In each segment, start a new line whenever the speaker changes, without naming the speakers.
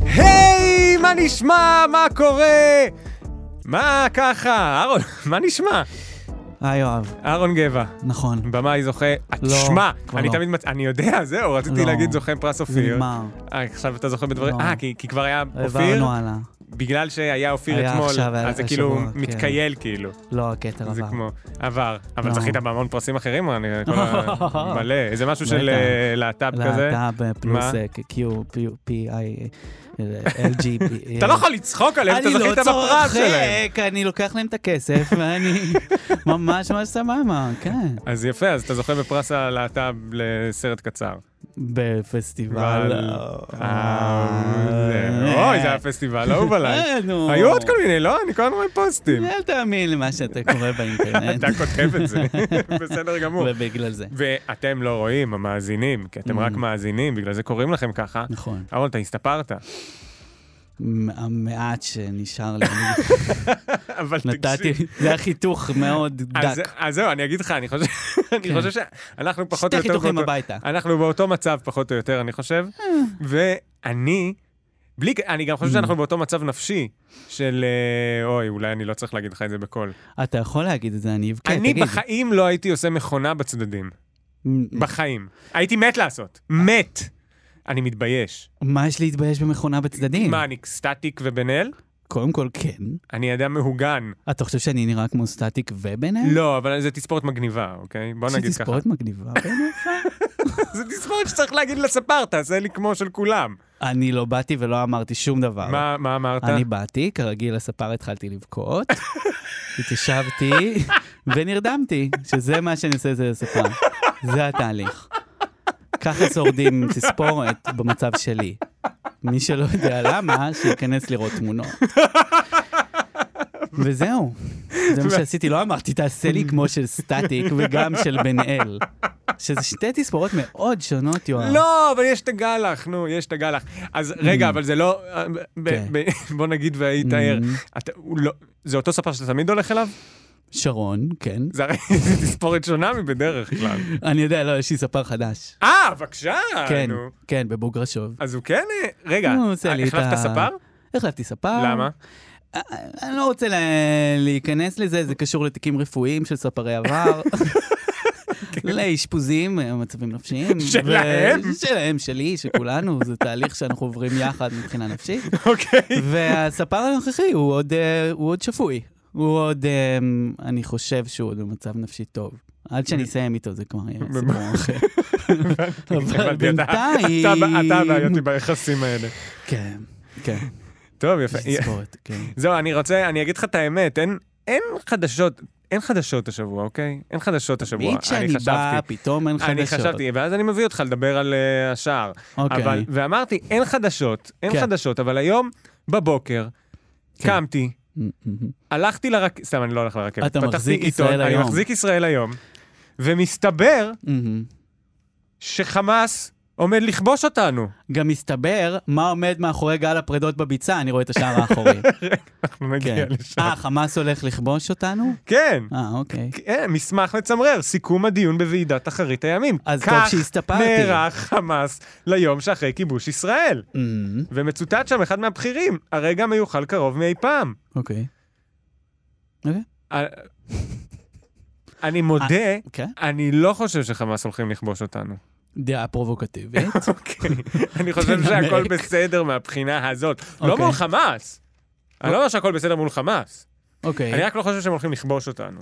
היי, מה נשמע? מה קורה? מה ככה? אהרון, מה נשמע?
אה, יואב,
אהרון גבע,
נכון.
במאי זוכה.
לא,
תשמע,
כבר
אני
לא.
תמיד מצ... אני יודע, זהו, רציתי
לא.
להגיד זוכה פרס
זה
אופיר.
נגמר.
אה, עכשיו אתה זוכה בדברים...
לא.
אה, כי כי כבר היה אופיר?
העברנו הלאה.
בגלל שהיה אופיר
היה
אתמול,
עכשיו, היה
אז זה
לפני
כאילו
שבוע, כן.
מתקייל כאילו.
לא, הכתר
זה
עבר.
כמו עבר. אבל
לא.
זכית בהמון פרסים אחרים, או אני... כל ה- מלא. איזה משהו של
בטח.
אה, להט"ב כזה.
להט"ב אה, פלוס
מה?
אה, Q, P, P, I, אה, LG.
אתה לא יכול לצחוק עליהם, אתה
אני לא
זכית בפרס שלהם.
צוחק, אני לוקח להם את הכסף, ואני ממש ממש סבבה, כן.
אז יפה, אז אתה זוכה בפרס הלהט"ב לסרט קצר.
בפסטיבל.
אבל- אה, זה- אוי, זה היה פסטיבל אהוב עליי.
אה, נו.
היו עוד כל מיני, לא? אני כל הזמן רואה פוסטים.
אל תאמין למה שאתה קורא באינטרנט.
אתה כותב את זה, בסדר גמור.
ובגלל זה.
ואתם לא רואים, המאזינים, כי אתם רק
Mm.
מאזינים, בגלל זה קוראים לכם ככה.
נכון.
אהרון, אתה הסתפרת.
מ- המעט שנשאר לי,
אבל תקשיב.
נתתי, זה היה חיתוך מאוד
אז,
דק.
אז זהו, אני אגיד לך, אני חושב, אני
כן.
חושב שאנחנו פחות או
שתי
יותר...
חיתוכים
באותו-
הביתה.
אנחנו באותו מצב, פחות או יותר, אני חושב. ואני, בלי... ק- אני גם חושב
Mm.
שאנחנו באותו מצב נפשי של... אה, אוי, אולי אני לא צריך להגיד לך את זה בקול.
אתה יכול להגיד את זה, אני אבכה,
אה. אני
כן, תגיד. Mm.
בחיים לא הייתי עושה מכונה בצדדים. בחיים. הייתי מת לעשות. מת. אני מתבייש.
מה יש להתבייש במכונה בצדדים?
מה, אני סטטיק ובן אל?
קודם כל, כן.
אני אדם מהוגן.
אתה חושב שאני נראה כמו סטטיק וביניהם?
לא, אבל זה תספורת מגניבה, אוקיי? בוא נגיד ככה.
שתספורת מגניבה ביניהם?
זה תספורת שצריך להגיד לספר, תעשה לי כמו של כולם.
אני לא באתי ולא אמרתי שום דבר.
מה מה אמרת?
אה, אני באתי, כרגיל לספר התחלתי לבכות, התיישבתי ונרדמתי, שזה מה שאני עושה זה לספר. זה התהליך. ככה שורדים תספורת במצב שלי. מי שלא יודע למה, שייכנס לראות תמונות. וזהו, זה מה שעשיתי, לא אמרתי, תעשה לי כמו של סטטיק וגם של בן אל. שזה שתי תספורות מאוד שונות, יואב.
לא, אבל יש את הגלח, נו, יש את הגלח. אז רגע, אבל זה לא... אה, ב-
Mm. כן. Mm-hmm.
ב- בוא נגיד והיית ער. אתה- הוא לא- זה אותו ספר שאתה תמיד הולך אליו?
שרון, כן.
זה הרי זה תספורת שונה מבדרך כלל.
אני יודע, לא, יש לי ספר חדש.
אה, בבקשה!
כן,
נו.
כן, בבוגרשוב.
אז הוא כן... אה, רגע,
הוא עושה לא לי את
החלפת
ה-
ספר?
החלפתי ספר.
למה?
אה, אני לא רוצה לה- להיכנס לזה, זה קשור לתיקים רפואיים של ספרי עבר. לאשפוזים, אה, מצבים נפשיים.
כן. שלהם?
ו- שלהם, שלי, של כולנו, זה תהליך שאנחנו עוברים יחד מבחינה נפשית.
אוקיי.
והספר הנוכחי הוא עוד, אה, הוא עוד שפוי. הוא עוד, אה, אני חושב שהוא עוד במצב נפשי טוב. עד שאני אסיים איתו זה כבר יהיה סיפור אחר. אבל
הבנתי, אתה-
בינתיים...
אתה אתה הבעייתי ביחסים האלה.
כן, כן.
טוב, יפה.
יש תספורת, כן.
זהו, אני רוצה, אני אגיד לך את האמת, אין, אין חדשות, אין חדשות השבוע, אוקיי? אין חדשות השבוע.
תמיד כשאני בא, פתאום אין חדשות.
אני חשבתי, ואז אני מביא אותך לדבר על uh, השער.
אוקיי.
אבל, ואמרתי, אין חדשות, אין
כן.
חדשות, אבל היום בבוקר
כן.
קמתי, הלכתי לרכבת, סתם, אני לא הולך לרכבת.
אתה
פתחתי
מחזיק
עיתון,
ישראל
אני
היום.
מחזיק ישראל היום, ומסתבר שחמאס עומד לכבוש אותנו.
גם מסתבר מה עומד מאחורי גל הפרדות בביצה, אני רואה את השער האחורי.
אנחנו נגיע
כן.
לשם.
אה, חמאס הולך לכבוש אותנו?
כן.
אה, אוקיי.
כן, מסמך מצמרר, סיכום הדיון בוועידת אחרית הימים.
אז טוב שהסתפרתי.
כך נערך חמאס ליום שאחרי כיבוש ישראל.
אמ,
ומצוטט שם אחד מהבכירים, הרגע מיוחל קרוב מאי פעם.
אוקיי.
אה, אני מודה,
כן?
אני לא חושב שחמאס הולכים לכבוש אותנו.
דעה פרובוקטיבית.
אוקיי. אני חושב שהכל
תנמק. בסדר
בסדר מהבחינה הזאת. לא
אוקיי.
מול חמאס. אני לא אומר שהכל בסדר מול חמאס. אני
אוקיי.
רק לא חושב שהם הולכים לכבוש אותנו.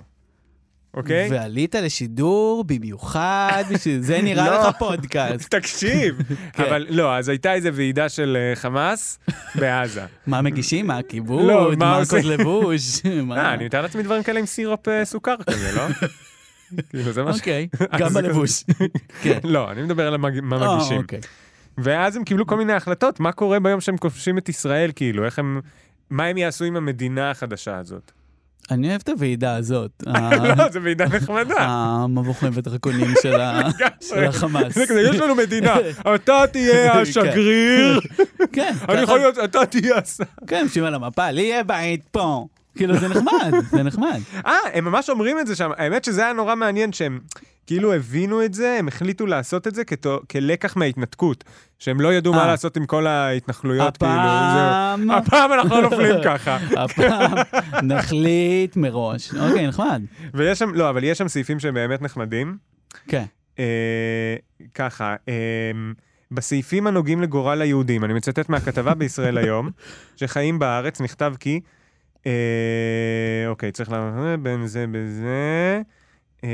אוקיי?
ועלית לשידור במיוחד בשביל זה נראה
לא.
לך פודקאסט.
תקשיב,
כן.
אבל לא, אז הייתה איזה ועידה של אה, חמאס בעזה.
מה מגישים? מה
לא,
הכיבוד?
מה
מה
עושים?
הקוד לבוש? מה?
אה, אני מתאר לעצמי דברים כאלה עם סירופ אה, סוכר כזה, לא? כאילו, זה מה ש...
אוקיי,
אז
גם
זה
בלבוש. כן.
לא, אני מדבר על המג- מה
אה,
מגישים.
אוקיי.
ואז הם קיבלו כל מיני החלטות, מה קורה ביום שהם כובשים את ישראל, כאילו, איך הם... מה הם יעשו עם המדינה החדשה הזאת?
אני אוהב את הוועידה הזאת.
לא, זו ועידה
אה,
נחמדה.
המבוכים ודרקונים של ה- של החמאס.
זה כזה, יש לנו מדינה, אתה תהיה השגריר,
כן,
אני
ככה-
יכול להיות, אתה תהיה השר.
כן, יושבים על המפה, לי יהיה בית פה. כאילו, זה נחמד, זה נחמד.
אה, הם ממש אומרים את זה שם. האמת שזה היה נורא מעניין שהם כאילו הבינו את זה, הם החליטו לעשות את זה כתו- כלקח מההתנתקות. שהם לא ידעו
אה.
מה לעשות עם כל ההתנחלויות, כאילו. זהו.
הפעם,
הפעם אנחנו לא נופלים ככה.
הפעם, נחליט מראש. אוקיי, נחמד.
ויש שם, לא, אבל יש שם סעיפים שהם באמת נחמדים.
כן.
אה, ככה, אה, בסעיפים הנוגעים לגורל היהודים, אני מצטט מהכתבה בישראל היום, שחיים בארץ, נכתב כי, אה, אוקיי, צריך לה... בין זה בזה. אה,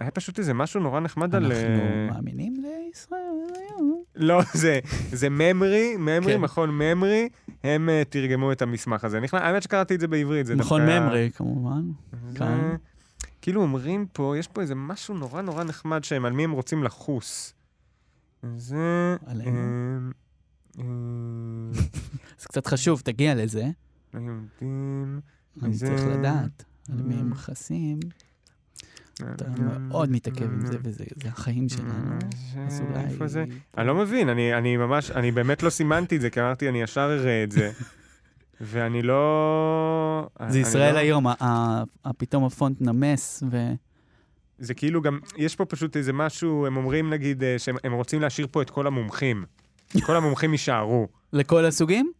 היה פשוט איזה משהו נורא נחמד על...
אנחנו
אה,
מאמינים לישראל היום.
לא, זה, זה ממרי, ממרי,
כן.
מכון ממרי, הם אה, תרגמו את המסמך הזה. נכנס- האמת שקראתי את זה בעברית, זה
נכון,
דווקא-
ממרי, כמובן.
זה-
כאן.
כאילו אומרים פה, יש פה איזה משהו נורא נורא נחמד שהם, על מי הם רוצים לחוס. זה...
עלינו?
אמ, אמ,
זה קצת חשוב, תגיע לזה.
לא יודעים...
אני
זה-
צריך לדעת על מי הם
Mm.
מכסים. אתה מאוד מתעכב עם זה, וזה זה החיים שלנו.
אה, זה-
אז אולי...
אה, איפה זה? אני לא מבין, אני, אני ממש, אני באמת לא סימנתי את זה, כי אמרתי, אני ישר אראה את זה. ואני לא...
זה
אני
ישראל
לא-
היום, ה- ה- ה- פתאום הפונט נמס, ו...
זה כאילו גם, יש פה פשוט איזה משהו, הם אומרים נגיד, אה, שהם הם רוצים להשאיר פה את כל המומחים. כל המומחים יישארו.
לכל הסוגים?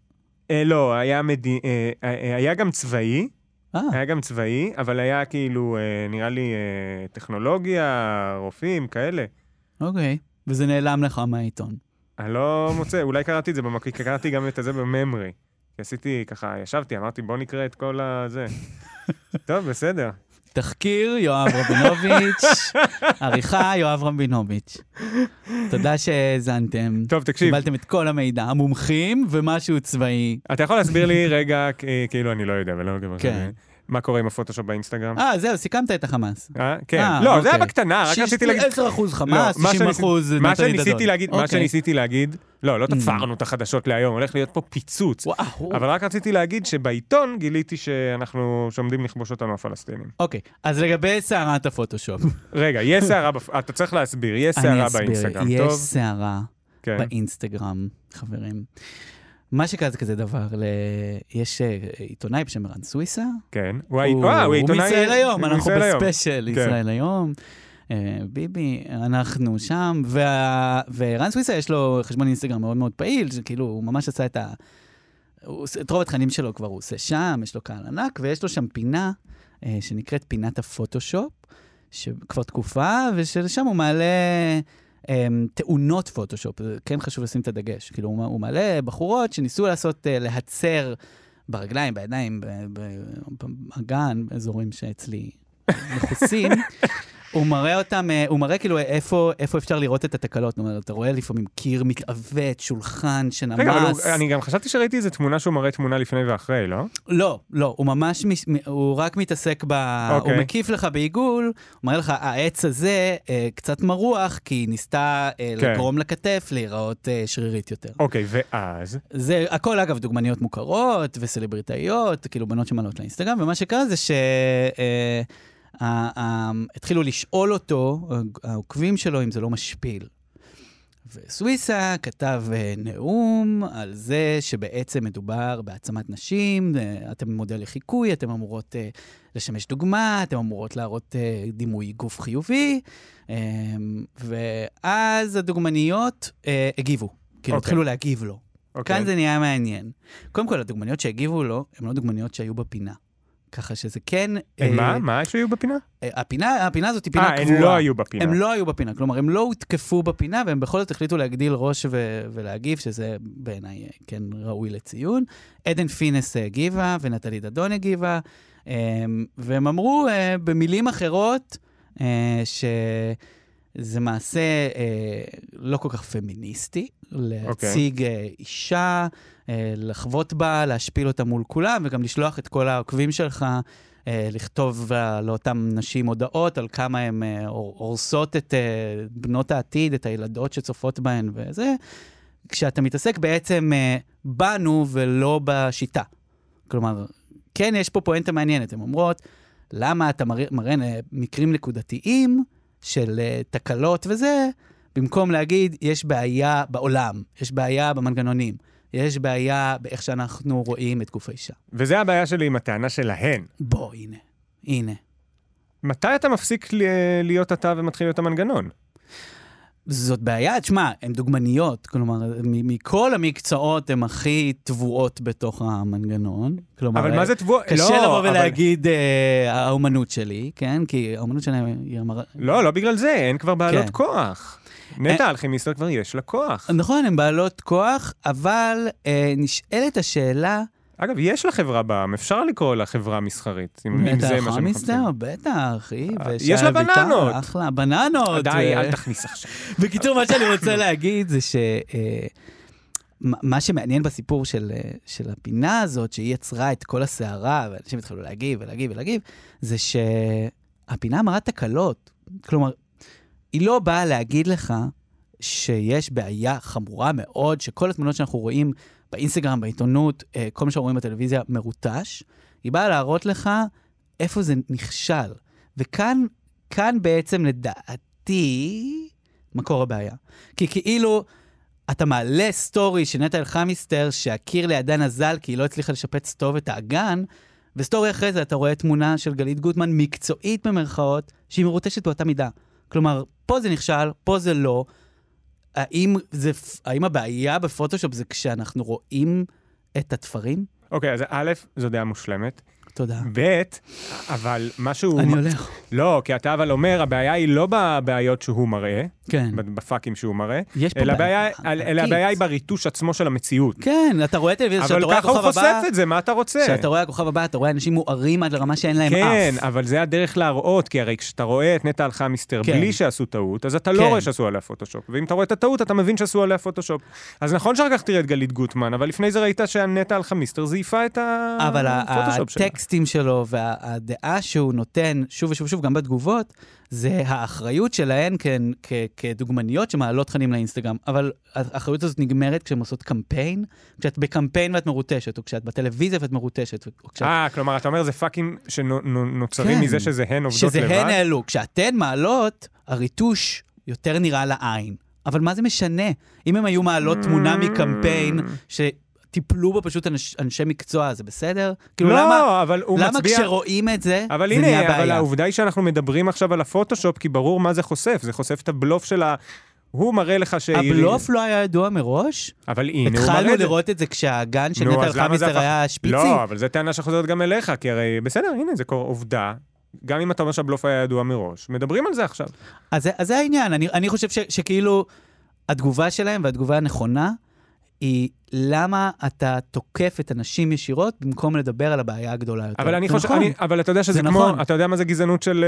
אה, לא, היה, מדי... אה, אה, היה גם צבאי,
אה,
היה גם צבאי, אבל היה כאילו, אה, נראה לי, אה, טכנולוגיה, רופאים, כאלה.
אוקיי. וזה נעלם לך מהעיתון.
אני לא מוצא, אולי קראתי את זה במקריא, כי קראתי גם את זה בממרי. כי עשיתי ככה, ישבתי, אמרתי, בוא נקרא את כל הזה. טוב, בסדר.
תחקיר, יואב רבינוביץ', עריכה, יואב רבינוביץ'. תודה שהאזנתם.
טוב, תקשיב,
קיבלתם את כל המידע, המומחים ומשהו צבאי.
אתה יכול להסביר לי רגע, אה, כאילו, אני לא יודע, אבל לא כבר...
כן.
מה קורה עם הפוטושופ באינסטגרם?
אה, זהו, סיכמת את החמאס.
אה, כן.
אה,
לא, זה היה
אוקיי.
בקטנה, רק רציתי להגיד...
10%
לא,
חמאס,
מה
90%
שניס-
נטלי
מה
דדון.
שניסיתי להגיד, מה
אוקיי. Mm.
שניסיתי להגיד, לא, לא תפרנו את החדשות להיום, הולך להיות פה פיצוץ.
וואו.
אבל רק רציתי להגיד שבעיתון גיליתי שאנחנו, שעומדים לכבוש אותנו הפלסטינים.
אוקיי, אז לגבי סערת הפוטושופ.
רגע, יש סערה, בפ- אתה צריך להסביר, יש
אני
סערה
אסביר,
באינסטגרם,
יש
טוב?
סערה
כן.
באינסטגרם, חברים. מה שקרה זה כזה דבר, ל... יש אה, עיתונאי בשם ערן סוויסה,
כן. הוא העית- וואו, הוא
הוא
עיתונאי...
מישראל היום,
הוא
אנחנו
מישראל היום.
בספיישל
כן.
ישראל היום. אה, ביבי, אנחנו שם, וה- ורן סוויסה יש לו חשבון אינסטגרם מאוד מאוד פעיל, שכאילו הוא ממש עשה את ה... הוא עושה- את רוב התכנים שלו כבר הוא עושה שם, יש לו קהל ענק, ויש לו שם פינה אה, שנקראת פינת הפוטושופ, שכבר תקופה, ושם הוא מעלה אה, תאונות פוטושופ, זה כן חשוב לשים את הדגש. כאילו, הוא, הוא מעלה בחורות שניסו לעשות, אה, להצר ברגליים, בידיים, ב- ב- באגן, אזורים שאצלי מכוסים. הוא מראה אותם, אה, הוא מראה כאילו איפה, איפה אפשר לראות את התקלות. זאת אומרת, אתה רואה לפעמים קיר מתעוות, שולחן שנמס.
רגע, אבל הוא- אני גם חשבתי שראיתי איזה תמונה שהוא מראה תמונה לפני ואחרי, לא?
לא, לא, הוא ממש, מש... מ- הוא רק מתעסק ב...
אוקיי.
הוא מקיף לך בעיגול, הוא מראה לך, העץ הזה אה, קצת מרוח, כי היא ניסתה אה,
כן.
לגרום לכתף להיראות אה, שרירית יותר.
אוקיי, ואז?
זה הכל, אגב, דוגמניות מוכרות וסלבריטאיות, כאילו בנות שמעלות לאינסטגרם, ומה שקרה זה ש... אה, ה- ה- התחילו לשאול אותו, העוקבים שלו, אם זה לא משפיל. וסוויסה כתב אה, נאום על זה שבעצם מדובר בהעצמת נשים, אה, אתם מודל לחיקוי, אתם אמורות אה, לשמש דוגמה, אתם אמורות להראות אה, דימוי גוף חיובי, אה, ואז הדוגמניות אה, הגיבו, כאילו
אוקיי.
התחילו להגיב לו.
אוקיי.
כאן זה נהיה מעניין. קודם כל, הדוגמניות שהגיבו לו, הן לא דוגמניות שהיו בפינה. ככה שזה כן...
אה,
אה,
מה? מה שהיו בפינה?
אה, הפינה, הפינה הזאת היא פינה
אה,
קבועה.
הם לא היו בפינה.
הם לא היו בפינה, כלומר, הם לא הותקפו בפינה, והם בכל זאת החליטו להגדיל ראש ו- ולהגיב, שזה בעיניי אה, כן ראוי לציון. עדן פינס אה, הגיבה, ונטלי דדון הגיבה, אה, והם אמרו אה, במילים אחרות אה, שזה מעשה אה, לא כל כך פמיניסטי, להציג אה, אישה, אה, לחבוט בה, להשפיל אותה מול כולם, וגם לשלוח את כל העוקבים שלך. אה, לכתוב אה, לאותן נשים הודעות על כמה הן אה, הור- הורסות את אה, בנות העתיד, את הילדות שצופות בהן וזה, כשאתה מתעסק בעצם אה, בנו ולא בשיטה. כלומר, כן, יש פה פואנטה מעניינת, הן אומרות, למה אתה מראה, מראה אה, מקרים נקודתיים של אה, תקלות וזה, במקום להגיד, יש בעיה בעולם, יש בעיה במנגנונים. יש בעיה באיך שאנחנו רואים את גוף האישה.
וזה הבעיה שלי עם הטענה שלהן.
בוא, הנה. הנה.
מתי אתה מפסיק ל- להיות אתה ומתחיל להיות המנגנון?
זאת בעיה, תשמע, הן דוגמניות, כלומר, מ- מכל המקצועות הן הכי טבועות בתוך המנגנון. כלומר,
אבל מה זה תבוע?
קשה
לא,
לבוא
אבל-
ולהגיד אה, האומנות שלי, כן? כי האומנות שלהם היא אמרה...
לא, לא בגלל זה, אין כבר בעלות
כן. אה,
כוח. נטע אלכימיסטר כבר יש לה כוח.
נכון, הן בעלות כוח, אבל אה, נשאלת השאלה...
אגב, יש לה חברה בעם, אפשר לקרוא לה חברה מסחרית, אם אם זה מה שמחפשים.
חמיסטר, בטח, אחי.
אה,
ושי
יש לה
אביטל,
בננות.
אחלה, בננות. אה,
די,
ו-
אל תכניס עכשיו.
בקיצור, מה שאני רוצה להגיד זה ש... אה, מה- מה שמעניין בסיפור של, אה, של הפינה הזאת, שהיא יצרה את כל הסערה, ואנשים התחילו להגיב ולהגיב ולהגיב, זה שהפינה מראה תקלות. כלומר, היא לא באה להגיד לך שיש בעיה חמורה מאוד, שכל התמונות שאנחנו רואים באינסטגרם, בעיתונות, אה, כל מה שאנחנו רואים בטלוויזיה מרוטש. היא באה להראות לך איפה זה נכשל. וכאן, כאן בעצם לדעתי, מקור הבעיה. כי כאילו, אתה מעלה סטורי של נטע אלחמיסטר שהקיר לידה נזל כי היא לא הצליחה לשפץ טוב את האגן, וסטורי אחרי זה אתה רואה תמונה של גלית גוטמן מקצועית במרכאות, שהיא מרוטשת באותה מידה. כלומר, פה זה נכשל, פה זה לא. האם, זה, האם הבעיה בפוטושופ זה כשאנחנו רואים את התפרים?
אוקיי, אז א', זו דעה מושלמת.
תודה.
ב', אבל משהו...
אני הולך.
לא, כי אתה אבל אומר, הבעיה היא לא בבעיות שהוא מראה,
כן.
בפאקים שהוא מראה,
יש פה
אלא
בעיה
הבעיה- אל- אלא הבעיה היא בריטוש עצמו של המציאות.
כן, אתה רואה טלוויזיה,
אבל
כשאתה רואה
ככה הוא
הכוכב
חושף
הבא,
את זה, מה אתה רוצה?
כשאתה רואה הכוכב הבא, אתה רואה אנשים מוארים עד לרמה שאין להם אף.
כן, אבל זה הדרך להראות, כי הרי כשאתה רואה את נטע אלחמיסטר
כן.
בלי שעשו טעות, אז אתה
כן.
לא רואה שעשו עליה פוטושופ. ואם אתה רואה את הטעות, אתה מבין שעשו עליה פוטושופ. אז נכון שאחר כך תראה את גלית גוטמן, אבל לפני זה ראית שהנטע אלחמיסטר זייפה את
אבל ה-
הפוטושופ שלה.
הטקסטים שלו והדעה שהוא נותן, שוב ושוב ושוב, גם בתגובות, זה האחריות שלהן כ- כ- כדוגמניות שמעלות תכנים לאינסטגרם. אבל האחריות הזאת נגמרת כשהן עושות קמפיין, כשאת בקמפיין ואת מרוטשת, או כשאת בטלוויזיה ואת מרוטשת, או כשאת...
אה, כלומר, אתה אומר זה פאקים שנוצרים
כן.
מזה שזה הן עובדות
שזה הן
לבד?
העלו. כשאתן מעלות, הריטוש יותר נראה לעין. אבל מה זה משנה? אם הם היו מעלות תמונה
Mm.
מקמפיין, שטיפלו בו פשוט אנש, אנשי מקצוע, זה בסדר? כאילו, למה,
לא, אבל הוא
למה
מצביע...
כשרואים את זה,
אבל
זה נהיה
הנה,
בעיה?
אבל העובדה היא שאנחנו מדברים עכשיו על הפוטושופ, כי ברור מה זה חושף. זה חושף את הבלוף של ה... הוא מראה לך שהיא...
הבלוף לא היה ידוע מראש?
אבל הנה, הוא מראה את
התחלנו
זה.
לראות את זה כשהגן של
נו, אז
נטע
למה זה
אלחמיסטר
הפך-
היה שפיצי.
לא, אבל זו טענה שחוזרת גם אליך, כי הרי בסדר, הנה, זה קורה עובדה. גם אם אתה אומר שהבלוף היה ידוע מראש, מדברים על זה עכשיו.
אז, זה- אז זה העניין, אני, אני חושב ש, שכאילו התגובה שלהם והתגובה הנכונה היא למה אתה תוקף את הנשים ישירות במקום לדבר על הבעיה הגדולה יותר.
אבל אני
זה
חושב,
נכון.
אני- אבל אתה יודע שזה
זה
כמו,
נכון.
אתה יודע מה זה גזענות של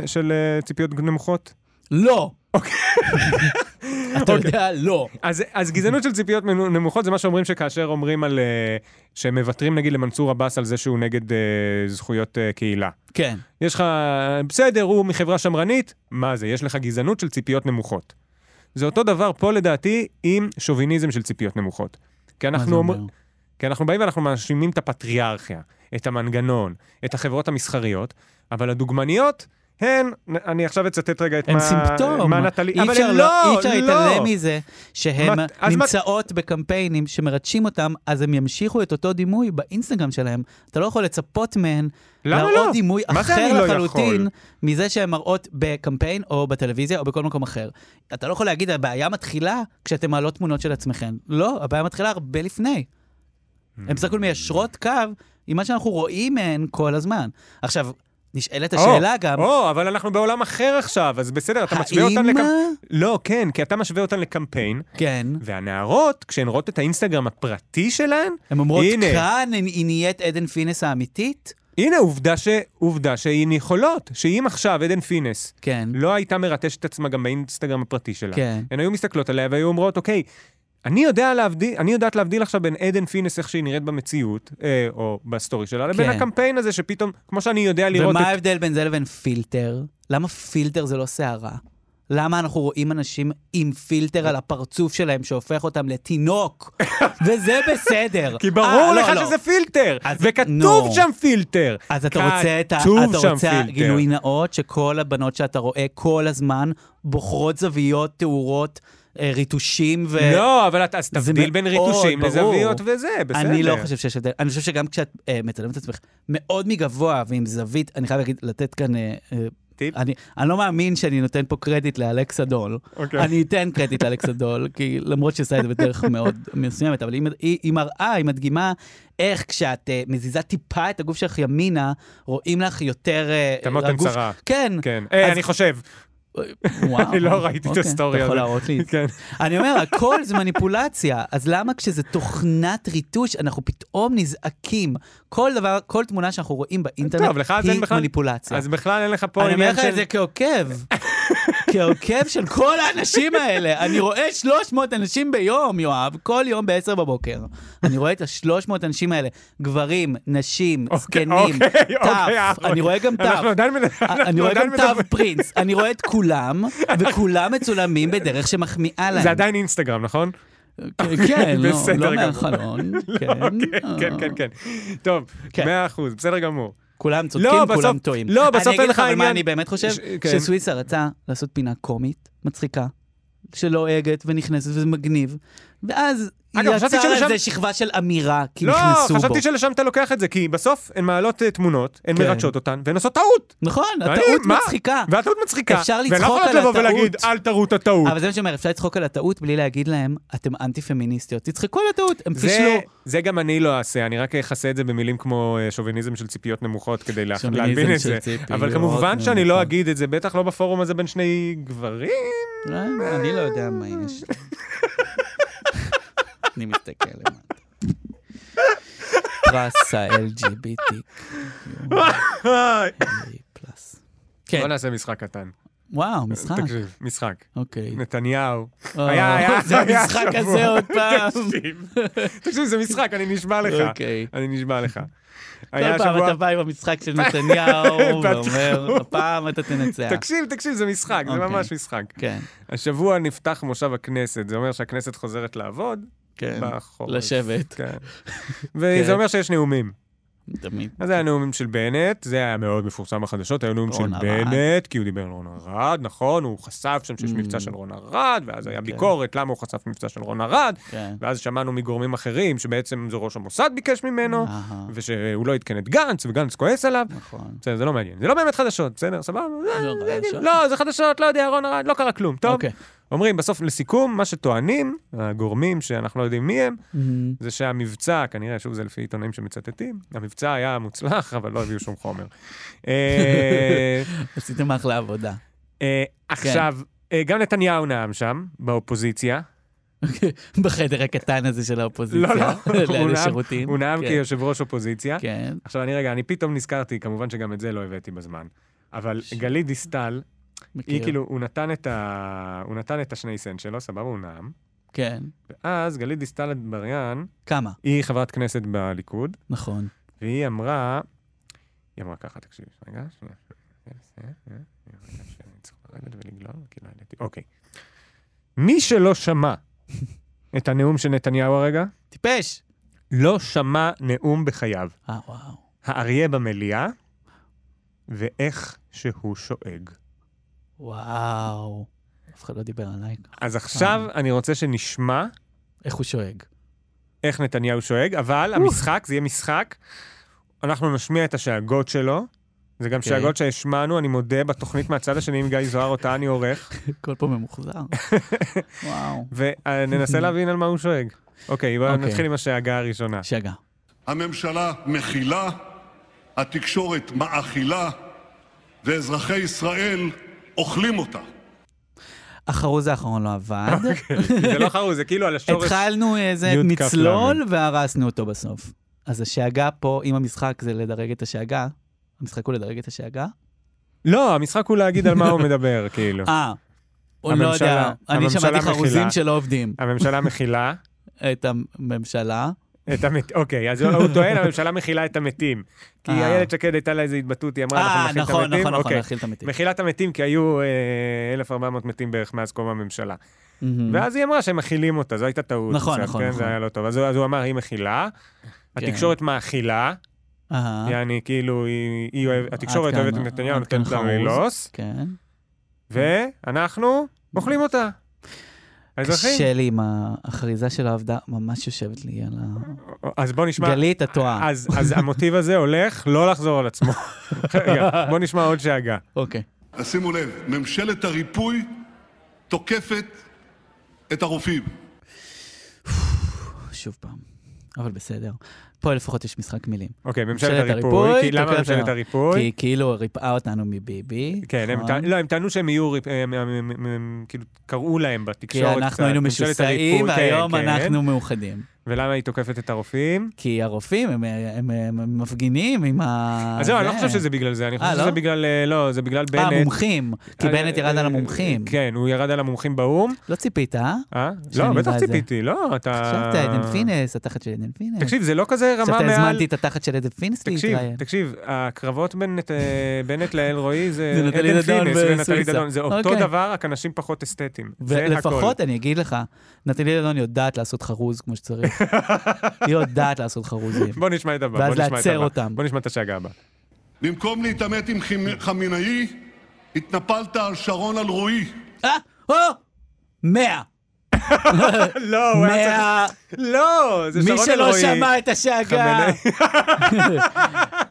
אה, של אה, ציפיות נמוכות?
לא.
אוקיי.
אתה יודע, לא.
אז אז גזענות של ציפיות מנו- נמוכות זה מה שאומרים שכאשר אומרים על... אה, שמוותרים נגיד למנסור עבאס על זה שהוא נגד אה, זכויות אה, קהילה.
כן.
יש לך, בסדר, הוא מחברה שמרנית, מה זה, יש לך גזענות של ציפיות נמוכות. זה אותו דבר פה לדעתי עם שוביניזם של ציפיות נמוכות. כי
מה
אנחנו,
זה
אומר...
אומר?
כי אנחנו באים ואנחנו מאשימים את הפטריארכיה, את המנגנון, את החברות המסחריות, אבל הדוגמניות... הן, אני עכשיו אצטט רגע את
הם
מה...
סימפטום.
מה נטלי...
אי
אבל
אפשר
הן
לא- אי
לא,
אפשר
לא.
להתעלם מזה שהן
מה- אז מה-
נמצאות בקמפיינים שמרדשים אותם, אז הם ימשיכו את אותו דימוי באינסטגרם שלהם. אתה לא יכול לצפות מהן
למה
להראות
לא?
דימוי
מה זה אני
אחר
לא
לחלוטין
יכול?
מזה שהן מראות בקמפיין או בטלוויזיה או בכל מקום אחר. אתה לא יכול להגיד, הבעיה מתחילה כשאתם מעלות תמונות של עצמכם. לא, הבעיה מתחילה הרבה לפני. הן בסך הכל מיישרות קו עם מה שאנחנו רואים מהן כל הזמן. עכשיו, נשאלת השאלה גם,
או, אבל אנחנו בעולם אחר עכשיו, אז בסדר, אתה משווה אותן
האם...
לקמפיין. לא, כן, כי אתה משווה אותן לקמפיין,
כן.
והנערות, כשהן רואות את האינסטגרם הפרטי שלהן,
הן אומרות,
הנה.
כאן היא נהיית עדן פינס האמיתית?
הנה עובדה, ש... עובדה שהן יכולות, שאם עכשיו עדן פינס
כן.
לא הייתה מרטשת את עצמה גם באינסטגרם הפרטי שלה,
כן.
הן היו מסתכלות עליה והיו אומרות, אוקיי, אני, יודע להבדיל, אני יודעת להבדיל עכשיו בין עדן פינס, איך שהיא נראית במציאות, אה, או בסטורי שלה, לבין
כן.
הקמפיין הזה שפתאום, כמו שאני יודע לראות
ומה
את...
ההבדל בין זה לבין פילטר? למה פילטר זה לא שערה? למה אנחנו רואים אנשים עם פילטר על הפרצוף שלהם שהופך אותם לתינוק? וזה בסדר.
כי ברור
אה, לא,
לך
לא.
שזה פילטר,
אז-
וכתוב
נו.
שם פילטר.
אז אתה רוצה את ה...
כתוב
אתה
שם
רוצה
פילטר.
גילוי נאות שכל הבנות שאתה רואה כל הזמן בוחרות זוויות, תאורות אה, ריטושים ו...
לא, אבל אתה- אז
זה
תבדיל בין
מאוד
ריטושים
ברור.
לזוויות וזה, בסדר.
אני לא חושב שיש הבדל. אני חושב שגם כשאת אה, מצלמת את עצמך מאוד מגבוה ועם זווית, אני חייב להגיד, לתת כאן... אה, אה,
טיפ?
אני, אני לא מאמין שאני נותן פה קרדיט לאלכסה דול.
אוקיי.
אני אתן קרדיט לאלכסה דול, כי למרות שהיא עושה את זה בדרך מאוד מסוימת, אבל היא, היא, היא מראה, היא מדגימה איך כשאת אה, מזיזה טיפה את הגוף שלך ימינה, רואים לך יותר... אה,
תמות
הגוף-
הן צרה.
כן.
כן. אה,
אז-
אני חושב.
וואו.
אני לא ראיתי את
אוקיי,
הסטורי
אתה יכול
הזה.
להראות לי את זה.
כן.
אני אומר, הכל זה מניפולציה, אז למה כשזה תוכנת ריטוש, אנחנו פתאום נזעקים? כל דבר, כל תמונה שאנחנו רואים באינטרנט
טוב, לך אז אין
היא
בכלל-
מניפולציה.
אז בכלל אין לך פה
אני אומר
עניין
לך את
של...
זה כעוקב, כעוקב של כל האנשים האלה. אני רואה 300 אנשים ביום, יואב, כל יום ב-10 בבוקר. אני רואה את ה-300 אנשים האלה, גברים, נשים,
אוקיי,
זקנים,
אוקיי, אוקיי,
טף,
אחלה.
אני רואה גם טף.
אנחנו עדיין מדברים.
אני
אנחנו
רואה גם
עדיין
תו
מדברים.
פרינס, אני רואה את כולם, וכולם מצולמים בדרך שמחמיאה להם.
זה עדיין אינסטגרם, נכון?
כן, לא-
בסדר
לא
גמור.
מהחלון, כן.
אוקיי, כן, כן, כן. טוב,
כן.
מאה אחוז, בסדר גמור.
כולם צודקים,
לא,
כולם
בסוף-
טועים.
לא, בסוף אין לך
אני אגיד לך אבל מה
עניין-
אני באמת חושב,
ש- כן.
שסוויסה רצה לעשות פינה קומית, מצחיקה, שלועגת ונכנסת וזה מגניב, ואז היא
אגב, חשבתי
יצרה
שלשם-
איזה שכבה של אמירה, כי
לא,
נכנסו בו.
חשבתי שלשם אתה לוקח את זה, כי בסוף הן מעלות אה, תמונות, הן
כן.
מרדשות אותן, והן עושות טעות.
נכון,
ואני-
הטעות
מה?
מצחיקה.
והטעות מצחיקה.
אפשר
והן לא
לצחוק
יכולות
על
לבוא ולהגיד,
הטעות.
אל תראו את הטעות.
אבל זה מה שאומר, אפשר לצחוק על הטעות בלי להגיד להם, אתם אנטי-פמיניסטיות. תצחקו על הטעות, הם
זה,
פישלו.
זה גם אני לא אעשה, אני רק אכסה את זה במילים כמו אה, שוביניזם של ציפיות נמוכות כדי לה-
שוביניזם
להלבין את
של
זה.
ציפיות
אבל כמובן שאני לא
נמוכות.
אגיד את זה, בטח לא בפורום הזה בין שני גברים.
לא, אני לא יודע מה יש לי. אני מסתכל למטה. פרס ה-LGBT. פלאס. כן, אה.
בוא נעשה משחק קטן.
וואו, משחק,
תקשיב, משחק.
אוקיי.
נתניהו.
או,
היה- היה-
זה
היה
המשחק
שבוע.
הזה עוד פעם.
תקשיב, תקשיב, זה משחק, אני נשבע לך.
אוקיי.
אני נשבע לך.
כל
היה
פעם
שבוע...
אתה בא עם המשחק של נתניהו, ואומר,
בטוח.
הפעם אתה תנצח.
תקשיב, תקשיב, זה משחק, זה
אוקיי.
ממש משחק.
כן,
השבוע נפתח מושב הכנסת, זה אומר שהכנסת חוזרת לעבוד
כן.
בחורף.
לשבת. כן.
כן. וזה אומר שיש נאומים.
תמיד.
אז היה נאומים של בנט, זה היה מאוד מפורסם בחדשות, היה נאום של
רון ארד.
בנט, כי הוא דיבר על רון ארד, נכון, הוא חשף שם שיש
Mm.
מבצע של רון ארד, ואז היה
כן.
ביקורת למה הוא חשף מבצע של רון ארד,
כן.
ואז שמענו מגורמים אחרים שבעצם זה ראש המוסד ביקש ממנו,
אהה,
ושהוא לא עדכן את גנץ, וגנץ כועס עליו.
נכון.
בסדר, זה לא מעניין. זה לא באמת חדשות, בסדר, סבבה?
לא
זה-
חדשות.
לא, זה חדשות, לא יודע, רון ארד, לא קרה כלום. טוב,
אוקיי.
אומרים בסוף, לסיכום, מה שטוענים, הגורמים שאנחנו לא יודעים מי הם,
מהמם.
זה שהמבצע, כנראה, שוב, זה לפי עיתונאים שמצטטים, המבצע היה מוצלח, אבל לא הביאו שום חומר. אה,
עשיתם אחלה עבודה.
אה, עכשיו, אה, גם נתניהו נאם שם, באופוזיציה.
בחדר הקטן הזה של האופוזיציה.
לא, לא, הוא
לאלה
נאם-
שירותים.
הוא נאם כאילו-
כן,
כיושב ראש אופוזיציה.
כן.
עכשיו, אני רגע, אני פתאום נזכרתי, כמובן שגם את זה לא הבאתי בזמן, אבל
ש-
גלית דיסטל, היא
מכיר.
כאילו, הוא נתן את ה- הוא נתן את השני סנט שלו, סבבה, הוא נאם.
כן.
ואז גלית דיסטל אטבריאן,
כמה?
היא חברת כנסת בליכוד,
נכון.
והיא אמרה, היא אמרה ככה, תקשיבי, רגע, שנייה. רגע, שנייה, שנייה, רגע, שאני צריך לרדת ולגלול, כי לא ידעתי. אוקיי. מי שלא שמע את הנאום של נתניהו הרגע,
טיפש!
לא שמע נאום בחייו.
אה, וואו.
האריה במליאה, ואיך שהוא שואג.
וואו. אף אחד לא דיבר עליי.
אז עכשיו אני רוצה שנשמע
איך הוא שואג.
איך נתניהו שואג, אבל המשחק, זה יהיה משחק, אנחנו נשמיע את השאגות שלו. זה גם
אוקיי.
שאגות שהשמענו, אני מודה, בתוכנית מהצד השני עם גיא זוהר, אותה אני עורך,
הכל פה ממוחזר. וואו.
וננסה להבין על מה הוא שואג. אוקיי, בואו
אוקיי.
נתחיל עם השאגה הראשונה.
שגע.
הממשלה מכילה, התקשורת מאכילה, ואזרחי ישראל אוכלים אותה.
החרוז האחרון לא עבד.
זה לא חרוז, זה כאילו על השורש.
התחלנו איזה
י' כ'
מצלול והרסנו אותו בסוף. אז השאגה פה, אם המשחק זה לדרג את השאגה, המשחק הוא לדרג את השאגה?
לא, המשחק הוא להגיד על מה הוא מדבר, כאילו.
אה, הוא לא יודע.
הממשלה-
אני
הממשלה
שמעתי
מכילה.
חרוזים שלא עובדים.
הממשלה מכילה
את הממשלה.
את המת... אוקיי, אז הוא טוען, הממשלה מכילה את המתים. כי
אה.
איילת שקד הייתה לה איזו התבטאות, היא אמרה, אנחנו
אה,
נכיל את
נכון,
המתים.
נכון, נכון,
אוקיי.
להכיל את המתים.
מכילת המתים, כי היו אה, 1,400 מתים בערך מאז קום הממשלה.
מהמם.
ואז היא אמרה שהם מכילים אותה, זו הייתה טעות.
Mm. נכון,
קצת,
נכון,
כן,
נכון.
זה היה לא טוב. אז הוא- אז הוא אמר, היא מכילה,
כן.
התקשורת מאכילה,
אהה,
יעני, כאילו, היא- היא אוהבת- התקשורת
כאן-
אוהבת את נתניהו,
עד כאן
נותנת לה
חרוז.
ללוס,
כן.
ואנחנו אוכלים אותה. האזרחים.
קשה לי עם הכריזה של העבדה, ממש יושבת לי על ה...
אז בוא נשמע...
גלית, את טועה.
אז, אז המוטיב הזה הולך לא לחזור על עצמו. רגע, בוא נשמע עוד שאגה.
אוקיי.
אז שימו לב, ממשלת הריפוי תוקפת את הרופאים.
שוב פעם. אבל בסדר. פה לפחות יש משחק מילים.
אוקיי, ממשלת הריפוי. כי למה
תוקעת
ממשלת
אותנו.
הריפוי?
כי כאילו ריפאה אותנו מביבי.
כן, הם
נכון?
טענו- לא, הם טענו שהם יהיו, ריפ- הם- הם- הם- הם- הם- כאילו, קראו להם
כי
בתקשורת. קצת,
אנחנו היינו
ממשלת
משוסעים,
הריפוי, כן,
והיום
כן.
אנחנו מאוחדים.
ולמה היא תוקפת את הרופאים?
כי הרופאים הם- הם הם- הם מפגינים עם ה...
אז זהו, אני לא
אה, זה.
חושב שזה בגלל זה, אני
אה,
חושב
לא?
שזה בגלל, אה, לא, זה בגלל
אה,
בנט.
מומחים. כי
אה,
בנט ירד
אה,
על המומחים.
כן, הוא ירד על המומחים באו"ם.
לא ציפית, אה?
אה? לא,
שאני
בטח
בא על זה.
ציפיתי, לא, אתה...
חשבת עדן פינס, התחת של עדן פינס.
תקשיב, זה לא כזה רמה
עכשיו
מעל...
הזמנתי את התחת של עדן פינס
תקשיב,
להתראיין.
תקשיב, הקרבות בין נת- אה, בנט לאלרועי זה
זה נטלי
עדן
דדון
פינס ונטלי
וסויסה.
דדון, זה אותו
אוקיי.
דבר, רק אנשים פחות אסתטיים. זה הכל.
ולפחות אני אגיד לך, נטלי דדון יודעת לעשות חרוז כמו שצריך. היא יודעת לעשות חרוזים.
בוא נשמע את הבא.
ואז
בוא נשמע את
לעצר
הבא.
אותם.
בוא נשמע את השאגה הבאה.
במקום להתעמת עם חימ- חמינאי, התנפלת על שרון אלרועי.
אה, או! מאה!
לא, הוא היה צריך...
מאה!
לא, זה
מי
שרון
שלא
אלרועי.
שמע את השאגה!
חמינאי.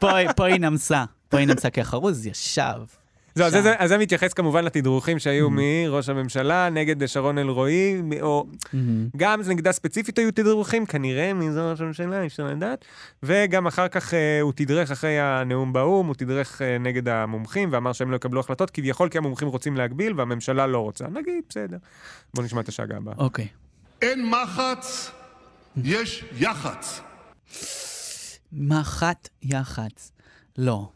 פה- פה היא נמסה. פה היא נמסה כי החרוז ישב.
זהו, אז זה- אז זה מתייחס כמובן לתדרוכים שהיו מראש הממשלה נגד שרון אלרועי, מ- או גם נגדה ספציפית היו תדרוכים, כנראה מזה ראש הממשלה, אי אפשר לדעת. וגם אחר כך אה, הוא תדרך אחרי הנאום באו"ם, הוא תדרך אה, נגד המומחים ואמר שהם לא יקבלו החלטות, כביכול כי המומחים רוצים להגביל והממשלה לא רוצה. נגיד, בסדר. בוא נשמע את השאגה הבאה.
אוקיי.
אין מחץ, יש יח"צ.
מחט יח"צ. לא.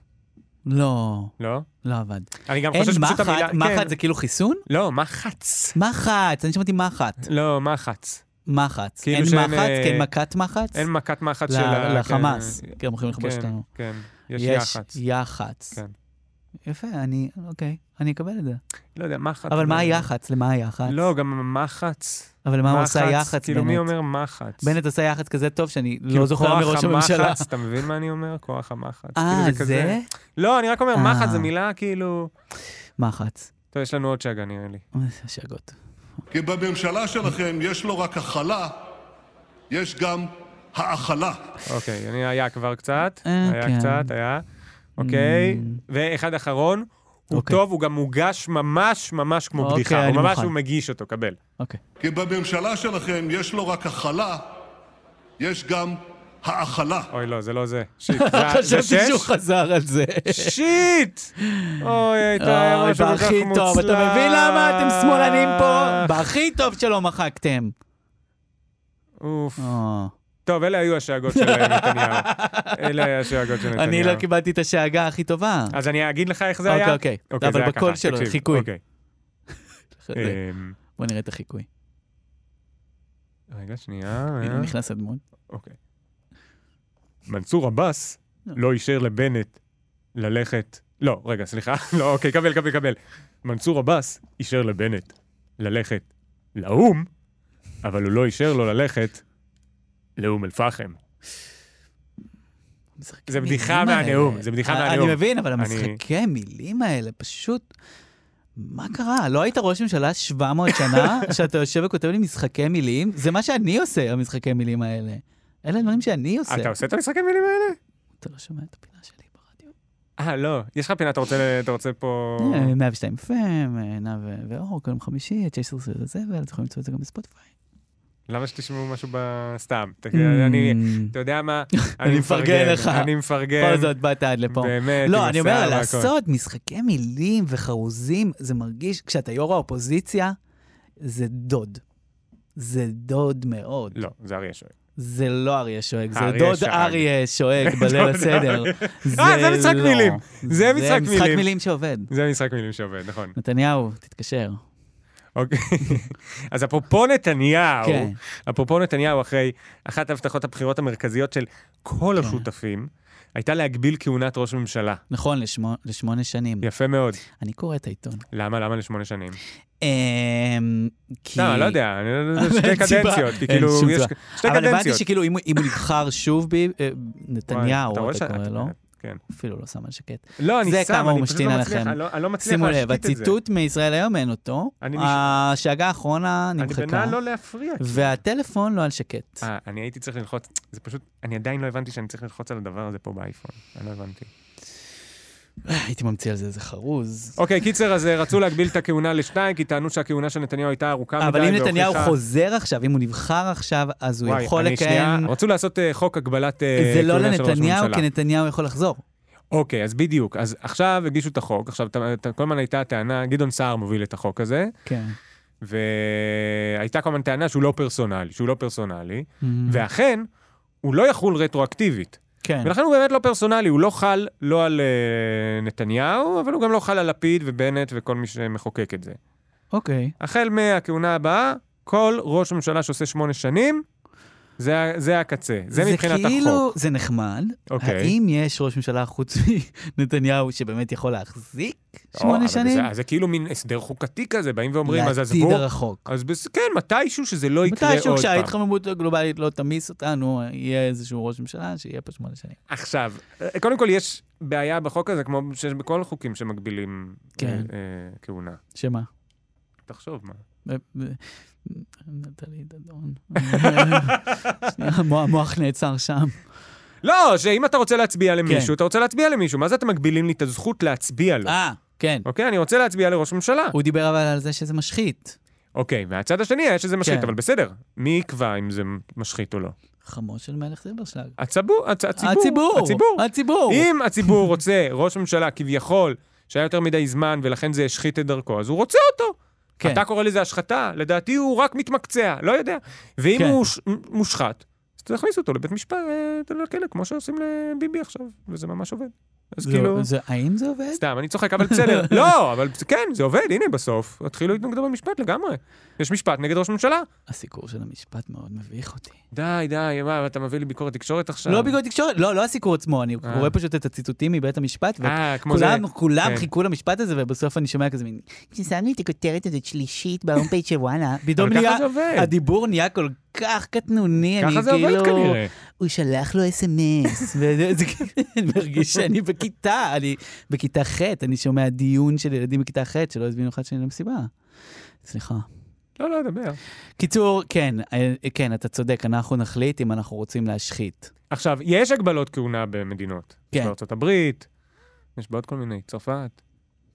לא.
לא?
לא עבד.
אני גם
אין
חושב שפשוט
מחט,
המילה...
מחט
כן.
זה כאילו חיסון?
לא, מחץ.
מחץ, אני שמעתי מחט.
לא, מחץ.
מחץ.
כאילו
אין
שאין,
מחץ,
אה,
כן מכת מחץ?
אין מכת מחץ של... ה-
ל-
כן,
לחמאס. כן, הם יכולים
כן,
לכבוש אותנו.
כן. יש יח"צ.
יח"צ.
כן.
יפה, אני, אוקיי, אני אקבל את זה.
לא יודע, מחץ.
אבל מה
לא-
היח"צ? למה היח"צ?
לא, גם מחץ.
אבל למה הוא עושה
מחץ,
יח"צ,
כאילו, מי
בנט?
אומר מחץ?
בנט עושה יח"צ כזה טוב שאני
כאילו,
לא זוכר
כוח
מראש הממשלה.
המחץ, אתה מבין מה אני אומר? כוח המחץ.
אה,
כאילו,
זה?
כזה- לא, אני רק אומר,
אה.
מחץ זה מילה כאילו...
מחץ.
טוב, יש לנו עוד שאגה נראה לי.
אוי, השגות.
כי בממשלה שלכם יש לא רק הכלה, יש גם האכלה.
אוקיי, אני היה כבר קצת,
אה,
היה
כן. Mm.
קצת, היה. אוקיי, ואחד אחרון. הוא
אוקיי.
טוב, הוא גם מוגש ממש ממש כמו
אוקיי,
בדיחה. הוא
אני
ממש,
מוכן.
הוא מגיש אותו, קבל.
אוקיי.
כי בממשלה שלכם יש לא רק הכלה, יש גם האכלה.
אוי, לא, זה לא זה. שיט. זה- זה
חשבתי שהוא
שש?
חזר על זה.
שיט! אוי, הייתה
אוי,
משהו כל כך
בהכי
מוצלח.
טוב, אתה מבין למה אתם שמאלנים פה? בהכי טוב שלא מחקתם.
אוף.
אה.
טוב, אלה היו השאגות של אה, נתניהו. אלה היו השאגות של נתניהו.
אני לא קיבלתי את השאגה הכי טובה.
אז אני אגיד לך איך זה
אוקיי,
היה?
אוקיי.
זה
אבל
היה
בקול
ככה,
שלו,
תקשיב,
חיקוי. אה.
אוקיי. אמ,
בוא נראה את החיקוי.
רגע, שנייה. אה.
הנה, נכנס הדמות.
אוקיי. מנסור עבאס לא אישר לבנט ללכת... לא, רגע, סליחה. לא, אוקיי, קבל, קבל, קבל. מנסור עבאס אישר לבנט ללכת לאו"ם, אבל הוא לא אישר לו ללכת לאום אל-פחם.
המשחקי
זה
מילים
בדיחה
האלה.
מהנאום, זה בדיחה
אני-
מהנאום.
אני מבין, אבל
אני-
המשחקי מילים האלה פשוט... מה קרה? לא היית ראש ממשלה 700 שנה, שאתה יושב וכותב לי משחקי מילים? זה מה שאני עושה, המשחקי מילים האלה. אלה הדברים שאני עושה.
אתה עושה את המשחקי מילים האלה?
אתה לא שומע את הפינה שלי ברדיו.
אה, לא. יש לך פינה, אתה רוצה- אתה רוצה פה...
אה, 102 FM, אה, נע ו- ואור, כל יום חמישי, את 16 זה זבל, אתם יכולים למצוא את זה גם בספוטיפיי.
למה שתשמעו משהו ב... סתם. ת- אני...
Mm.
אתה יודע מה?
אה, אני מפרגן לך.
אני מפרגן.
בכל זאת באת עד לפה.
כן. באמת, עם
לא, אני אומר,
השיער והכל.
לעשות משחקי מילים וחרוזים, זה מרגיש, כשאתה יו"ר האופוזיציה, זה דוד. זה דוד מאוד.
לא, זה אריה שואל.
זה לא אריה שואג, זה
אריה
דוד
שאג.
אריה שואג בליל
דוד
הסדר.
אריה. אה, זה משחק
לא.
מילים. זה משחק
זה משחק
מילים.
מילים שעובד.
זה משחק מילים שעובד, נכון.
נתניהו, תתקשר.
אוקיי. אז אפרופו נתניהו,
כן.
אפרופו נתניהו, אחרי אחת הבטחות הבחירות המרכזיות של כל
כן.
השותפים, הייתה להגביל כהונת ראש ממשלה.
נכון, לשמו- לשמונה שנים.
יפה מאוד.
אני קורא את העיתון.
למה? למה לשמונה שנים?
אמ, כי...
לא, אני לא יודע, אני- זה שתי
אין סיבה.
קדנציות, כי
אין
כאילו,
שום
יש
סיבה.
שתי
אבל הבנתי
קדנציות.
שכאילו אם הוא אם הוא נבחר שוב ב... אה,
וואי,
נתניהו,
רואה
אתה
שה-
קורא לו.
כן.
אפילו לא שם על שקט.
לא, אני שם,
זה
אני פשוט
כמה הוא
לא
משתין
מצליח,
עליכם.
אני לא- אני לא מצליח
שימו לב,
להשתית את זה.
הציטוט מישראל היום אין אותו,
אני נש-
השאגה האחרונה
אני
נמחקה,
בנה לא להפריע. כי-
והטלפון לא על שקט.
אה, אני הייתי צריך ללחוץ, זה פשוט, אני עדיין לא הבנתי שאני צריך ללחוץ על הדבר הזה פה באייפון. אני לא הבנתי.
אה, הייתי ממציא על זה איזה חרוז.
אוקיי, קיצר, אז אה, רצו להגביל את הכהונה לשניים, כי טענו שהכהונה של נתניהו הייתה ארוכה אה, מדי.
אבל אם
והוכיחה-
נתניהו חוזר עכשיו, אם הוא נבחר עכשיו, אז הוא
וואי,
יכול
אני שנייה-
לכהן...
רצו לעשות אה, חוק הגבלת אה,
זה לא
כהונה של ראש
לנתניהו,
ממשלה.
כי נתניהו יכול לחזור.
אוקיי, אז בדיוק. אז עכשיו הגישו את החוק, עכשיו ת- ת- כל הזמן הייתה הטענה, גדעון סער מוביל את החוק הזה,
כן.
והייתה כל הזמן טענה שהוא לא פרסונלי, שהוא לא פרסונלי,
Mm-hmm.
ואכן, הוא לא יחול רטרואקטיבית.
כן.
ולכן הוא באמת לא פרסונלי, הוא לא חל לא על אה, נתניהו, אבל הוא גם לא חל על לפיד ובנט וכל מי שמחוקק את זה.
אוקיי.
החל מהכהונה הבאה, כל ראש ממשלה שעושה שמונה שנים, זה, ה- זה הקצה, זה, מבחינת החוק.
כאילו, זה נחמד.
אוקיי.
האם יש ראש ממשלה חוץ מנתניהו שבאמת יכול להחזיק
או,
שמונה
אבל
שנים?
זה, זה כאילו מין הסדר חוקתי כזה, באים ואומרים, אז
לעתיד
עזבו,
הרחוק.
אז בס... כן, מתישהו שזה לא יקרה עוד פעם.
מתישהו כשההתחממות הגלובלית לא תמיס אותנו, יהיה איזשהו ראש ממשלה שיהיה פה שמונה שנים.
עכשיו, אה, קודם כל יש בעיה בחוק הזה, כמו שיש בכל החוקים שמגבילים
כן.
אה, אה, כהונה.
שמה?
תחשוב מה.
נטלי דדון. שנייה, המוח- המוח נעצר שם.
לא, שאם אתה רוצה להצביע למישהו,
כן.
אתה רוצה להצביע למישהו. מה זה אתם מגבילים לי את הזכות להצביע לו?
אה, כן.
אוקיי, אני רוצה להצביע לראש ממשלה.
הוא דיבר אבל על זה שזה משחית.
אוקיי, מהצד השני היה שזה משחית,
כן.
אבל בסדר. מי יקבע אם זה משחית או לא?
חמו של מלך זילברשלג.
הצבור, הצ- הציבור.
הציבור!
הציבור.
הציבור!
אם הציבור רוצה ראש ממשלה כביכול, שהיה יותר מדי זמן ולכן זה השחית את דרכו, אז הוא רוצה אותו.
כן.
אתה קורא לזה השחתה, לדעתי הוא רק מתמקצע, לא יודע. ואם
כן.
הוא ש- מושחת, אז תכניס אותו לבית משפט, אה, לכלא, כמו שעושים לביבי עכשיו, וזה ממש עובד. אז
זה- לא-
כאילו...
זה- האם זה עובד?
סתם, אני צוחק, אבל בסדר. לא, אבל כן, זה עובד, הנה בסוף. התחילו להתנגד במשפט לגמרי. יש משפט נגד ראש ממשלה.
הסיקור של המשפט מאוד מביך אותי.
די, די, מה, אתה מביא לי ביקורת תקשורת עכשיו?
לא בגלל תקשורת, לא, לא הסיקור עצמו, אני
אה.
קורא פשוט את הציטוטים מבית המשפט,
אה, כמו זה.
וכולם כולם
כן.
חיכו למשפט הזה, ובסוף אני שומע כזה מין,
ששמנו את הכותרת הזאת שלישית בהום פייג' של וואלה.
פתאום
אבל ככה
נהיה,
זה עובד.
הדיבור נהיה כל כך קטנוני, אני
ככה זה
כאילו...
עובד כנראה.
הוא שלח לו אס.אם.אס.
וזה כאילו, אני מרגיש שאני בכיתה, אני בכיתה ח', אני שומע דיון של ילדים בכיתה ח' שלא הזמינו אחד שני למסיבה. סליחה.
לא, לא, דבר.
קיצור, כן, אה, כן, אתה צודק, אנחנו נחליט אם אנחנו רוצים להשחית.
עכשיו, יש הגבלות כהונה במדינות.
כן.
בארצות הברית, יש בעוד כל מיני, צרפת.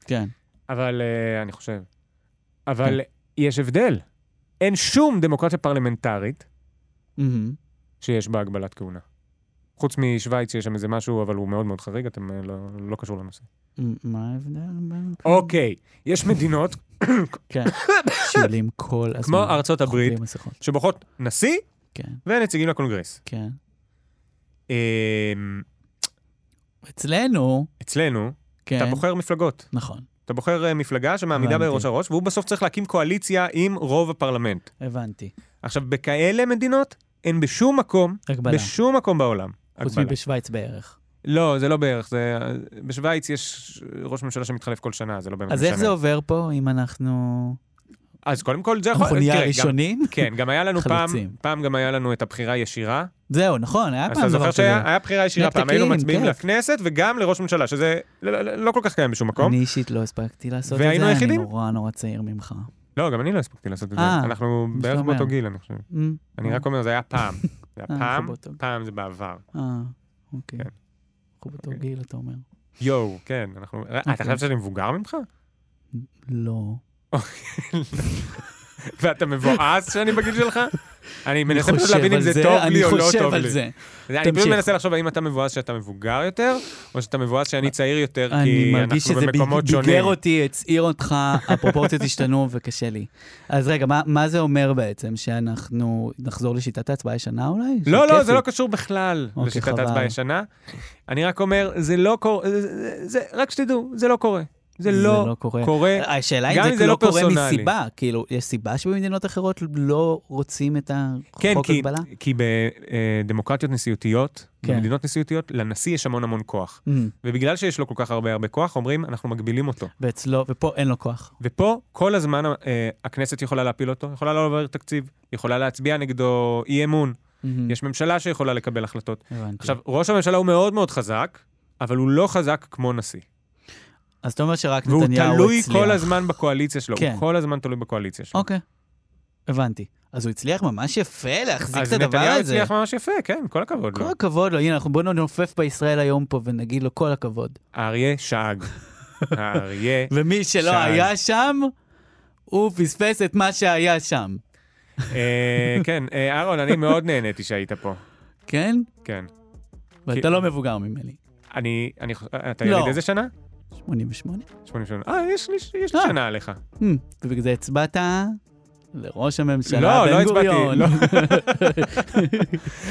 כן.
אבל, אה, אני חושב. אבל יש הבדל. אין שום דמוקרטיה פרלמנטרית
מהמם.
שיש בה הגבלת כהונה. חוץ משוויץ, שיש שם איזה משהו, אבל הוא מאוד מאוד חריג, אתם אה, לא- לא קשור לנושא.
מה ההבדל בין...
אוקיי, יש מדינות
כן, שעולים כל הזמן.
כמו ארצות הברית,
חובבים מסכות.
שבוחרות נשיא
כן,
ונציגים לקונגרס.
כן.
אמ,
אצלנו,
אצלנו,
כן.
אתה בוחר מפלגות.
נכון,
אתה בוחר אה, מפלגה שמעמידה
הבנתי.
בראש הראש, והוא בסוף צריך להקים קואליציה עם רוב הפרלמנט.
הבנתי.
עכשיו, בכאלה מדינות, אין בשום מקום,
הגבלה.
בשום מקום בעולם.
חוץ
הגבלה.
מבשוויץ בערך.
לא, זה לא בערך, זה... בשוויץ יש ראש ממשלה שמתחלף כל שנה, זה לא באמת
אז איך זה עובר פה אם אנחנו...
אז קודם כל, זה יכול...
אנחנו נהיה
תראה, גם-
הראשונים?
כן, גם היה לנו פעם,
חלוצים.
פעם גם היה לנו את הבחירה הישירה.
זהו, נכון, היה
אז
פעם
אתה זוכר
דבר כזה.
שהיה היה בחירה ישירה פעם, היינו
נקתקים,
מצביעים
כן.
לכנסת וגם לראש ממשלה, שזה לא- לא לא כל כך קיים בשום מקום.
אני אישית לא הספקתי לעשות את
והיינו
זה, אני
היחידים?
נורא נורא צעיר ממך.
לא, גם אני לא הספקתי לעשות את זה.
אה,
אנחנו
מה
בערך
שאתה אומר.
באותו גיל, אני חושב.
Mm,
אני רק אומר, זה היה פעם. זה
אנחנו
היה פעם,
באותו גיל.
פעם זה בעבר.
אה, אוקיי.
כן.
אנחנו באותו
אוקיי.
גיל, אתה אומר.
יואו, כן, אנחנו... אה, אתה
אוקיי.
חושב שאני מבוגר ממך?
לא.
ואתה מבואס שאני בגיל שלך? אני מנסה פשוט
חושב
להבין אם
על
זה טוב לי או
אני
לא
חושב
טוב
על
לי.
זה.
אני פשוט
תמשיך.
מנסה לחשוב האם אתה מבואס שאתה מבוגר יותר, או שאתה מבואס שאני צעיר יותר,
אני
כי
מרגיש
אנחנו
שזה
במקומות
ביג-
שונים.
ביגר אותי, הצעיר אותך, הפרופורציות השתנו וקשה לי. אז רגע, מה- מה זה אומר בעצם? שאנחנו נחזור לשיטת ההצבעה הישנה אולי?
לא, לא,
שכיף
זה
לי.
לא קשור בכלל
אוקיי,
לשיטת
חבל.
ההצבעה הישנה. אני רק אומר, זה לא קורה, זה- זה- רק שתדעו, זה לא קורה. זה לא
קורה.
קורה.
השאלה
גם
אם
אם
זה
זה
לא
לא
קורה
פרסונלי.
מסיבה, כאילו, יש סיבה שבמדינות אחרות לא רוצים את החוק
כן, כי-
הגבלה?
כי בדמוקרטיות נשיאותיות,
כן.
במדינות נשיאותיות, לנשיא יש המון המון כוח.
Mm,
ובגלל שיש לו כל כך הרבה הרבה כוח, אומרים, אנחנו מגבילים אותו.
ואצלו, ופה אין לו כוח.
ופה כל הזמן אה, הכנסת יכולה להפיל אותו, יכולה לא לעבור תקציב, יכולה להצביע נגדו אי אמון,
Mhm,
יש ממשלה שיכולה לקבל החלטות.
הבנתי.
עכשיו, ראש הממשלה הוא מאוד מאוד חזק, אבל הוא לא חזק כמו נשיא.
אז אתה אומר שרק
והוא
נתניהו הצליח.
תלוי כל הזמן בקואליציה שלו,
כן.
הוא כל הזמן תלוי בקואליציה שלו.
אוקיי, הבנתי. אז הוא הצליח ממש יפה להחזיק את
אז
הדבר
נתניהו
הזה.
הצליח ממש יפה, כן, כל הכבוד
כל
לו.
הכבוד לו, הנה, אנחנו בואו ננופף בישראל היום פה ונגיד לו כל הכבוד.
האריה שאג. האריה...
ומי שלא
שי.
היה שם, הוא פספס את מה שהיה שם,
אה, כן, אה, אהרון, אני מאוד נהניתי שהיית פה.
כן?
כן.
ואתה
כי-
לא מבוגר ממני.
אני... אני חוש- אתה
לא.
ילד איזה שנה?
88.
88. אה, יש לי יש לי
אה.
שנה עליך.
Hmm, ובגלל זה הצבעת לראש הממשלה
לא, לא
בן
הצבעתי.
גוריון.
לא.